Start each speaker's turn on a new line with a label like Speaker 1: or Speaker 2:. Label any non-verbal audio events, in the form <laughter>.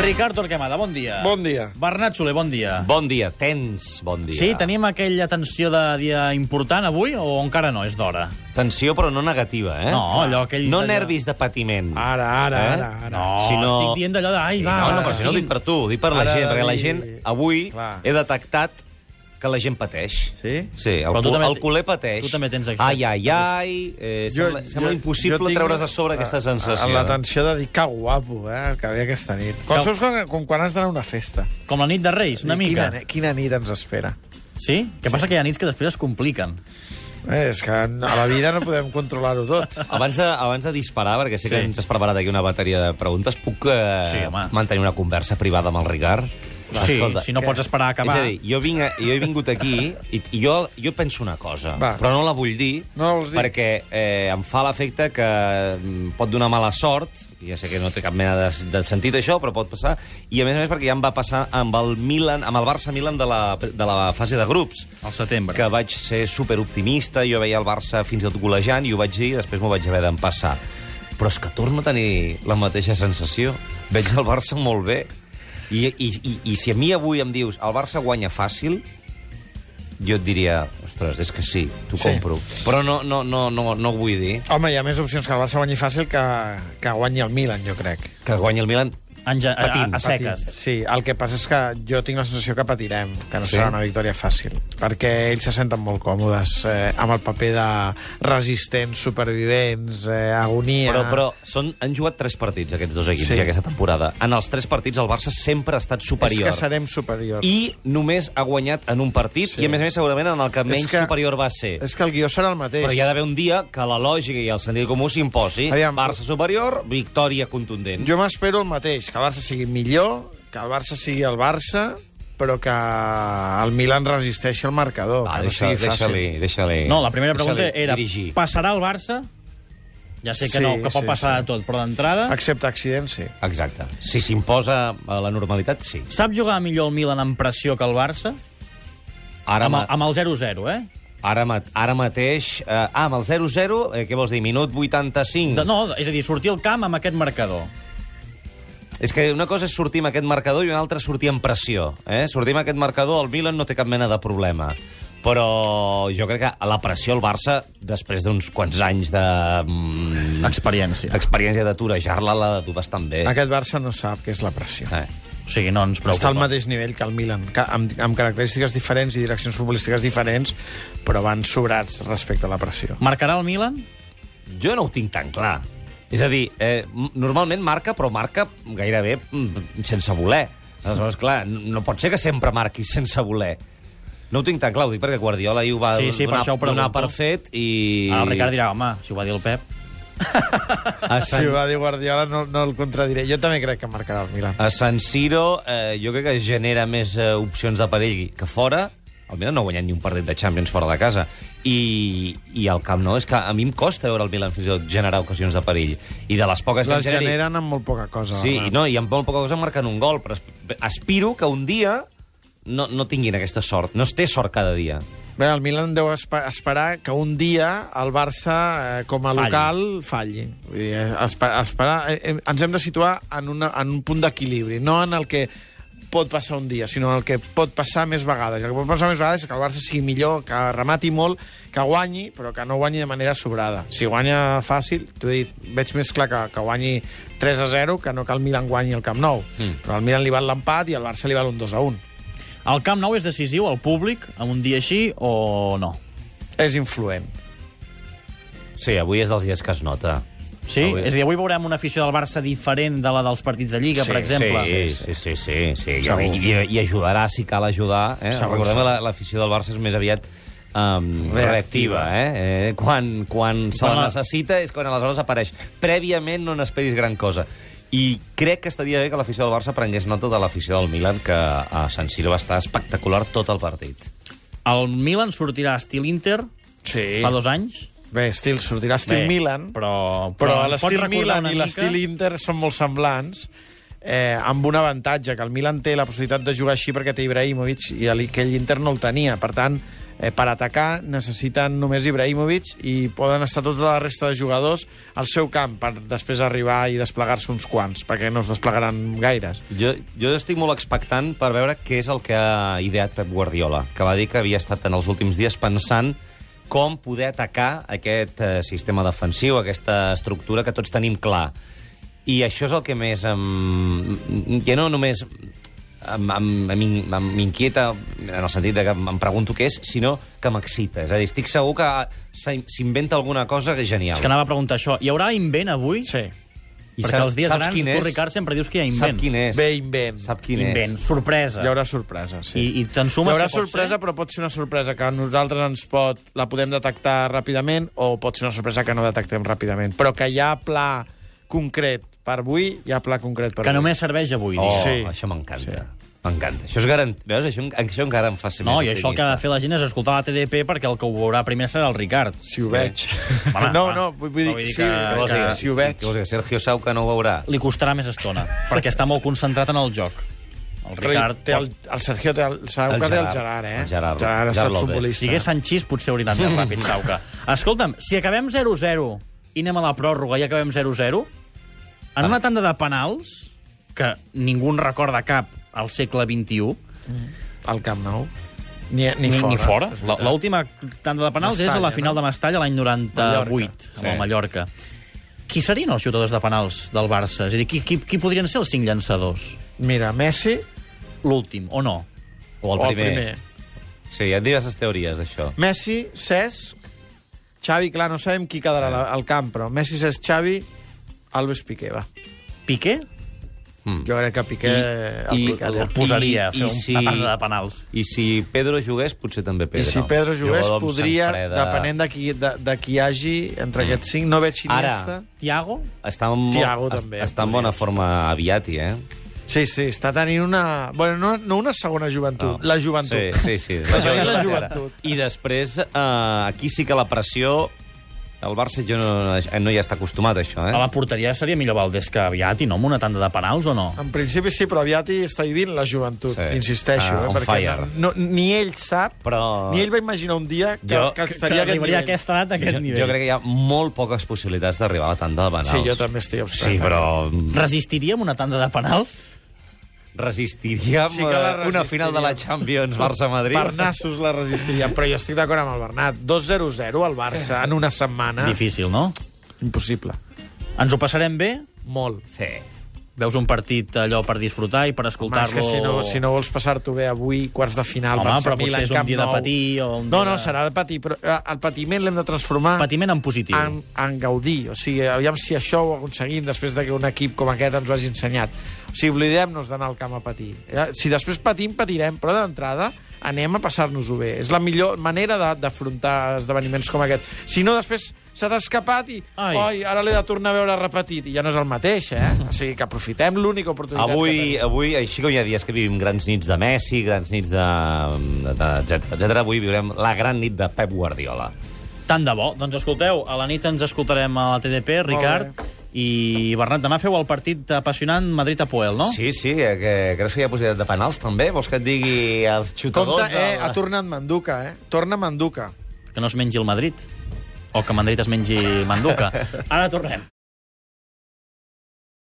Speaker 1: Ricard Torquemada, bon dia.
Speaker 2: Bon dia.
Speaker 1: Bernat Soler, bon dia.
Speaker 3: Bon dia, tens bon dia.
Speaker 1: Sí, tenim aquella tensió de dia important avui o encara no, és d'hora?
Speaker 3: Tensió, però no negativa, eh?
Speaker 1: No, allò, aquell
Speaker 3: No
Speaker 1: d'allò. Ah,
Speaker 3: nervis de patiment.
Speaker 2: Ara, ara,
Speaker 3: Eh?
Speaker 2: ara. ara.
Speaker 1: No,
Speaker 3: Si no-
Speaker 1: estic dient d'allò de... Ai,
Speaker 3: Sí,
Speaker 1: va,
Speaker 3: no, no,
Speaker 1: va,
Speaker 3: però si no ho dic per tu, ho dic per la
Speaker 2: Ara
Speaker 3: gent, perquè la
Speaker 2: dic-
Speaker 3: gent, avui,
Speaker 2: Clar.
Speaker 3: he detectat que la gent pateix.
Speaker 2: Sí?
Speaker 3: Sí, el,
Speaker 1: Però tu
Speaker 3: cul-
Speaker 1: també-
Speaker 3: el culer pateix.
Speaker 1: tu també tens aquesta-
Speaker 3: Ai, ai, ai... Eh,
Speaker 2: Jo-
Speaker 3: sembla,
Speaker 2: jo-
Speaker 3: sembla impossible
Speaker 2: jo tinc-
Speaker 3: treure's a sobre aquesta
Speaker 2: a-
Speaker 3: sensació.
Speaker 2: A,
Speaker 3: eh?
Speaker 2: la tensió de dir que guapo, eh, el que havia aquesta nit. Quan
Speaker 1: Que-
Speaker 2: fos com, com quan has d'anar a una festa.
Speaker 1: Com la nit de Reis, una
Speaker 2: I
Speaker 1: mica.
Speaker 2: Quina, ne- quina nit ens espera?
Speaker 1: Sí? Què passa que hi ha nits que després es compliquen.
Speaker 2: Eh, és que a la vida no podem controlar-ho tot.
Speaker 3: Abans de, abans de disparar, perquè sé que
Speaker 1: Sí.
Speaker 3: ens has preparat aquí una bateria de preguntes, puc eh,
Speaker 1: Sí, home.
Speaker 3: mantenir una conversa privada amb el Ricard?
Speaker 1: Sí, si no
Speaker 2: què?
Speaker 1: pots esperar a acabar...
Speaker 3: És a dir, jo, vinc a, jo he vingut aquí i, i jo, jo penso una cosa,
Speaker 2: Va.
Speaker 3: però no la vull dir,
Speaker 2: No la vols dir?
Speaker 3: perquè eh, em fa l'efecte que mm, pot donar mala sort, ja sé que no té cap mena de, de sentit això, però pot passar, i a més a més perquè ja em va passar amb el Milan, amb el Barça-Milan de, la, de la fase de grups.
Speaker 1: Al setembre.
Speaker 3: Que vaig ser superoptimista, jo veia el Barça fins i tot golejant, i ho vaig dir, i després m'ho vaig haver d'empassar. Però és que torno a tenir la mateixa sensació. Veig el Barça molt bé. I, i, i, i si a mi avui em dius el Barça guanya fàcil, jo et diria, ostres, és que sí, t'ho
Speaker 2: Sí.
Speaker 3: sí. compro. Però no, no, no, no, no ho vull dir.
Speaker 2: Home, hi ha més opcions que el Barça guanyi fàcil que, que guanyi el Milan, jo crec.
Speaker 3: Que guanyi el Milan...
Speaker 1: Enge- a, a,
Speaker 3: Patint,
Speaker 1: a seques.
Speaker 2: Sí, el que passa és que jo tinc la sensació que patirem, que no
Speaker 3: Sí?
Speaker 2: sí? serà una victòria fàcil, perquè ells se senten molt còmodes eh, amb el paper de resistents, supervivents, eh, agonia...
Speaker 3: Però, però són, han jugat tres partits, aquests dos equips,
Speaker 2: Sí.
Speaker 3: sí. ja, aquesta temporada. En els tres partits el Barça sempre ha estat superior.
Speaker 2: És que serem superiors.
Speaker 3: i només ha guanyat en un partit
Speaker 2: Sí.
Speaker 3: sí. i, a més a més, segurament en el que
Speaker 2: És
Speaker 3: menys que... superior va ser.
Speaker 2: És que el guió serà el mateix.
Speaker 3: Però hi ha d'haver un dia que la lògica i el sentit comú s'imposi.
Speaker 2: Aviam.
Speaker 3: Barça superior, victòria contundent.
Speaker 2: Jo m'espero el mateix, que el Barça sigui millor, que el Barça sigui el Barça, però que el Milan resisteixi al marcador,
Speaker 3: Va,
Speaker 2: que no
Speaker 3: deixa-
Speaker 2: sigui fàcil.
Speaker 3: Ah, deixa-li, deixa-li.
Speaker 1: No, la primera pregunta
Speaker 3: Deixa-li
Speaker 1: era,
Speaker 3: dirigir.
Speaker 1: passarà el Barça? Ja sé que
Speaker 2: Sí,
Speaker 1: no, que pot
Speaker 2: sí,
Speaker 1: passar
Speaker 2: sí.
Speaker 1: de tot, però d'entrada...
Speaker 2: Excepte accidents, sí.
Speaker 3: Exacte. Si s'imposa a la normalitat, sí.
Speaker 1: Sap jugar millor el Milan amb pressió que el Barça?
Speaker 3: Ara,
Speaker 1: Amb,
Speaker 3: ma-
Speaker 1: amb el 0-0, eh?
Speaker 3: ara, ma- ara mateix... Eh, ah, amb el 0-0, eh, què vols dir? Minut 85.
Speaker 1: De, no, és a dir, sortir al camp amb aquest marcador.
Speaker 3: És que una cosa és sortir amb aquest marcador i una altra és sortir amb pressió. Eh? Sortir amb aquest marcador, el Milan no té cap mena de problema. Però jo crec que la pressió al Barça, després d'uns quants anys de... mm,
Speaker 1: Experiència.
Speaker 3: experiència de turejar-la, la de tu bastant bé.
Speaker 2: Aquest Barça no sap què és la pressió.
Speaker 3: Eh.
Speaker 1: O sigui, no ens preocupa.
Speaker 2: Està al mateix nivell que el Milan, que amb, amb característiques diferents i direccions futbolístiques diferents, però van sobrats respecte a la pressió.
Speaker 1: Marcarà el Milan?
Speaker 3: Jo no ho tinc tan clar. És a dir, eh, m- normalment marca, però marca gairebé mm, sense voler. Aleshores, clar, n- no pot ser que sempre marquis sense voler. No ho tinc tan clar, ho dic perquè Guardiola ahir ho va
Speaker 1: Sí, sí, per
Speaker 3: donar,
Speaker 1: això ho pregunto.
Speaker 3: donar per fet i...
Speaker 1: I... Ara el Ricard dirà, home, si ho va dir el Pep...
Speaker 3: A
Speaker 2: Si
Speaker 3: Sant,
Speaker 2: ho va dir Guardiola, no, no el contradiré. Jo també crec que marcarà el Milan.
Speaker 3: a Sant Siro eh, jo crec que genera més eh, opcions de perill que fora. El Milan no ha guanyat ni un partit de Champions fora de casa. I, I al Camp Nou és que a mi em costa veure el Milan fins i tot generar ocasions de perill. I de les poques que en
Speaker 2: Les
Speaker 3: generi...
Speaker 2: generen amb molt poca cosa. eh?
Speaker 3: Sí,
Speaker 2: Bernat.
Speaker 3: i no, i amb molt poca cosa marquen un gol, però esp- aspiro que un dia no, no tinguin aquesta sort. No es té sort cada dia.
Speaker 2: Bé, el Milan deu espe- esperar que un dia el Barça, eh, com a
Speaker 1: Falli.
Speaker 2: local, falli. Vull dir, eh, espe- esperar, eh, eh, ens hem de situar en, una, en un punt d'equilibri, no en el que pot passar un dia, sinó en el que pot passar més vegades. I El que pot passar més vegades és que el Barça sigui millor, que remati molt, que guanyi, però que no guanyi de manera sobrada. Si guanya fàcil, t'ho he dit, veig més clar que, que guanyi 3 a 0 que no que el Milan guanyi el Camp Nou. Mm. Però al Milan li val l'empat i al Barça li val un 2 a 1.
Speaker 1: El Camp Nou és decisiu, el públic, en un dia així o no?
Speaker 2: És influent.
Speaker 3: Sí, avui és dels dies que es nota.
Speaker 1: Sí?
Speaker 3: Avui-
Speaker 1: Avui... És a dir, avui veurem una afició del Barça diferent de la dels partits de Lliga,
Speaker 2: Sí,
Speaker 1: per exemple.
Speaker 3: Sí, sí, sí, sí, sí. I,
Speaker 2: Segur.
Speaker 3: i, i ajudarà si cal ajudar. Eh?
Speaker 2: Segur,
Speaker 3: Recordem que
Speaker 2: segur.
Speaker 3: la- l'afició del Barça és més aviat um,
Speaker 2: Reactiva.
Speaker 3: reactiva. Eh? Eh, quan quan se
Speaker 1: Quan la-
Speaker 3: la necessita és quan aleshores apareix. Prèviament no n'esperis gran cosa. I crec que estaria bé que l'afició del Barça prengués nota de l'afició del Milan, que a Sant Siro va estar espectacular tot el partit.
Speaker 1: El Milan sortirà estil Inter
Speaker 2: Sí.
Speaker 1: fa dos anys.
Speaker 2: Bé, estil, sortirà estil
Speaker 1: Bé,
Speaker 2: Bé, Milan, però,
Speaker 1: Però,
Speaker 2: però
Speaker 1: ens pot
Speaker 2: l'estil
Speaker 1: recordar
Speaker 2: Milan
Speaker 1: una
Speaker 2: i
Speaker 1: mica?
Speaker 2: l'estil Inter són molt semblants, eh, amb un avantatge, que el Milan té la possibilitat de jugar així perquè té Ibrahimovic i el- aquell Inter no el tenia. Per tant, eh, per atacar necessiten només Ibrahimovic i poden estar tota la resta de jugadors al seu camp per després arribar i desplegar-se uns quants, perquè no es desplegaran gaires.
Speaker 3: Jo, jo estic molt expectant per veure què és el que ha ideat Pep Guardiola, que va dir que havia estat en els últims dies pensant com poder atacar aquest eh, sistema defensiu, aquesta estructura que tots tenim clar. I això és el que més... Em, ja no només em, em, em, em m'inquieta en el sentit de que em, em pregunto què és, sinó que m'excita. És a dir, estic segur que s'in- s'inventa alguna cosa que és genial.
Speaker 1: És que anava a preguntar això. Hi haurà invent avui?
Speaker 2: Sí.
Speaker 3: I
Speaker 1: Perquè
Speaker 3: sap-
Speaker 1: els dies
Speaker 3: saps
Speaker 1: grans,
Speaker 3: quin
Speaker 1: tu,
Speaker 3: és?
Speaker 1: Ricard, sempre dius que hi ha invent.
Speaker 3: Sap quin és?
Speaker 2: Bé invent.
Speaker 3: Sap quin
Speaker 1: Invent,
Speaker 3: és?
Speaker 1: sorpresa.
Speaker 2: Hi haurà sorpresa, sí.
Speaker 1: I, i te'n sumes
Speaker 2: Hi haurà
Speaker 1: que pot
Speaker 2: sorpresa,
Speaker 1: ser?
Speaker 2: però pot ser una sorpresa que a nosaltres ens pot, la podem detectar ràpidament o pot ser una sorpresa que no detectem ràpidament. Però que hi ha pla concret per avui, hi ha pla concret per
Speaker 1: Que
Speaker 2: avui.
Speaker 1: només serveix avui.
Speaker 3: Oh,
Speaker 1: dius.
Speaker 2: Sí.
Speaker 3: això m'encanta. M'encanta. Això és garant... Veus? Això, això encara em fa
Speaker 2: Oh,
Speaker 3: ser
Speaker 1: No, i
Speaker 3: més
Speaker 1: això el que ha de fer la gent és escoltar la TDP perquè el que ho veurà primer serà el Ricard.
Speaker 2: Si ho veig.
Speaker 1: Home,
Speaker 2: no,
Speaker 1: va.
Speaker 2: no, vull, vull dir,
Speaker 1: Vull dir que-
Speaker 2: sí, que,
Speaker 1: que-
Speaker 2: si ho veig.
Speaker 3: Què vols dir, que Sergio Sau que no ho veurà?
Speaker 1: Li costarà més
Speaker 2: <laughs>
Speaker 1: estona, perquè està molt concentrat en el joc. El
Speaker 2: Però
Speaker 1: Ricard,
Speaker 2: té el, el Sergio té el, sabeu
Speaker 3: El
Speaker 2: que té el
Speaker 3: Gerard.
Speaker 2: Gerard, eh?
Speaker 3: El Gerard.
Speaker 2: Gerard ha
Speaker 3: Gerard
Speaker 2: estat
Speaker 3: López.
Speaker 2: futbolista.
Speaker 1: si hagués Sanchís potser hauria anat més ràpid,
Speaker 2: <laughs>
Speaker 1: Sauca. Escolta'm, si acabem 0-0 i anem a la pròrroga i acabem 0-0, en
Speaker 2: Ah.
Speaker 1: una tanda de penals, que ningú en recorda cap al segle XXI,
Speaker 2: Al Camp Nou. Ni, ni,
Speaker 1: ni,
Speaker 2: fora.
Speaker 1: ni fora.
Speaker 2: és
Speaker 1: La-
Speaker 2: veritat.
Speaker 1: L'última tanda de penals és a la
Speaker 2: Mestalla,
Speaker 1: final
Speaker 2: no?
Speaker 1: de Mestalla l'any 98,
Speaker 2: Mallorca.
Speaker 1: amb el Mallorca. Qui serien els jugadors de penals del Barça? És a dir, qui, qui, qui podrien ser els cinc llançadors?
Speaker 2: Mira, Messi
Speaker 1: L'últim, o no?
Speaker 3: O el
Speaker 2: o el
Speaker 3: primer.
Speaker 2: primer.
Speaker 3: Sí, hi ha diverses teories d'això.
Speaker 2: Messi, Cesc, Xavi, clar, no sabem qui quedarà la- al camp, però Messi, Cesc, Xavi, Alves Piqué, va.
Speaker 1: Piqué?
Speaker 2: Jo crec que Piqué
Speaker 3: I-
Speaker 2: el
Speaker 3: i
Speaker 2: picaria.
Speaker 1: El posaria a
Speaker 3: I-
Speaker 1: fer
Speaker 3: i
Speaker 1: un-
Speaker 3: si-
Speaker 1: una tanda de penals.
Speaker 3: I si Pedro jugués, potser també
Speaker 2: I
Speaker 3: Pedro.
Speaker 2: si Pedro jugués,
Speaker 3: Jugador amb
Speaker 2: podria,
Speaker 3: sang freda. Mm.
Speaker 2: depenent de qui, de, de qui hi hagi entre aquests cinc, no veig Iniesta.
Speaker 3: Ara.
Speaker 1: Tiago?
Speaker 3: Està en, mo-
Speaker 2: Thiago
Speaker 3: es-
Speaker 2: també,
Speaker 3: està en
Speaker 2: podria.
Speaker 3: bona forma aviat, eh?
Speaker 2: Sí, sí, està tenint una... Bueno, no, no una segona joventut, la joventut.
Speaker 3: Sí, sí, sí.
Speaker 2: Està tenint <laughs> la joventut.
Speaker 3: I després, eh, aquí sí que la pressió... El Barça jo no, no hi està acostumat, a això, eh?
Speaker 1: A la porteria seria millor Valdés que Aviat i no amb una tanda de penals, o no?
Speaker 2: En principi sí, però aviat hi està vivint la joventut,
Speaker 3: Sí.
Speaker 2: sí. insisteixo.
Speaker 3: Ah,
Speaker 2: eh,
Speaker 3: on
Speaker 2: perquè
Speaker 3: fire.
Speaker 2: No, no, ni ell sap,
Speaker 3: Però-
Speaker 2: ni ell va imaginar un dia que,
Speaker 3: Jo-
Speaker 2: que
Speaker 1: Que
Speaker 2: estaria a aquest
Speaker 1: arribaria a
Speaker 2: nivell.
Speaker 1: aquesta edat, a aquest
Speaker 3: jo,
Speaker 1: nivell.
Speaker 3: jo crec que hi ha molt poques possibilitats d'arribar a la tanda de penals.
Speaker 2: Sí, jo també estic obstant.
Speaker 3: Sí, però
Speaker 1: Resistiria amb una tanda de penals?
Speaker 3: resistiríem
Speaker 2: Sí que la
Speaker 3: eh, una final de la Champions Barça-Madrid.
Speaker 2: Per nassos la resistiria, però jo estic d'acord amb el Bernat. 2-0-0 al Barça en una setmana.
Speaker 1: Difícil, no?
Speaker 2: Impossible.
Speaker 1: Ens ho passarem bé?
Speaker 2: Molt.
Speaker 3: Sí.
Speaker 1: Veus un partit allò per disfrutar i per
Speaker 2: Home, és
Speaker 1: escoltar-lo...
Speaker 2: que si no, si no vols passar-t'ho bé avui, quarts de final,
Speaker 1: Home,
Speaker 2: Barça,
Speaker 1: però potser
Speaker 2: Milan,
Speaker 1: és un
Speaker 2: Camp
Speaker 1: dia de
Speaker 2: Nou.
Speaker 1: patir o un
Speaker 2: No,
Speaker 1: dia
Speaker 2: no,
Speaker 1: de-
Speaker 2: serà de patir, però eh, el patiment l'hem de transformar
Speaker 1: Patiment en positiu.
Speaker 2: en, en gaudir. O sigui, aviam si això ho aconseguim després de que un equip com aquest ens ho hagi ensenyat. O sigui, oblidem-nos d'anar al camp a patir. Eh, Si després patim, patirem, però d'entrada anem a passar-nos-ho bé. És la millor manera de- d'afrontar esdeveniments com aquest. Si no, després s'ha d'escapat i
Speaker 1: Ai.
Speaker 2: ai. Oi, ara l'he de tornar a veure repetit. I ja no és el mateix, eh? O sigui, que aprofitem l'única oportunitat que
Speaker 3: Avui,
Speaker 2: tenim.
Speaker 3: avui, així com hi ha dies que vivim grans nits de Messi, grans nits de... de etc etc. avui viurem la gran nit de Pep Guardiola.
Speaker 1: Tant de bo. Doncs escolteu, a la nit ens escoltarem a la TDP, Ricard. I Bernat, demà feu el partit apassionant Madrid-Apoel, no?
Speaker 3: Sí, sí, eh, que creus que hi ha possibilitat de penals, també? Vols que et digui els xutadors...
Speaker 2: Compte, eh,
Speaker 3: del-
Speaker 2: ha tornat Manduca, eh? Torna Manduca.
Speaker 1: Que no es mengi el Madrid. O que Madrid es mengi Manduca. Ara tornem.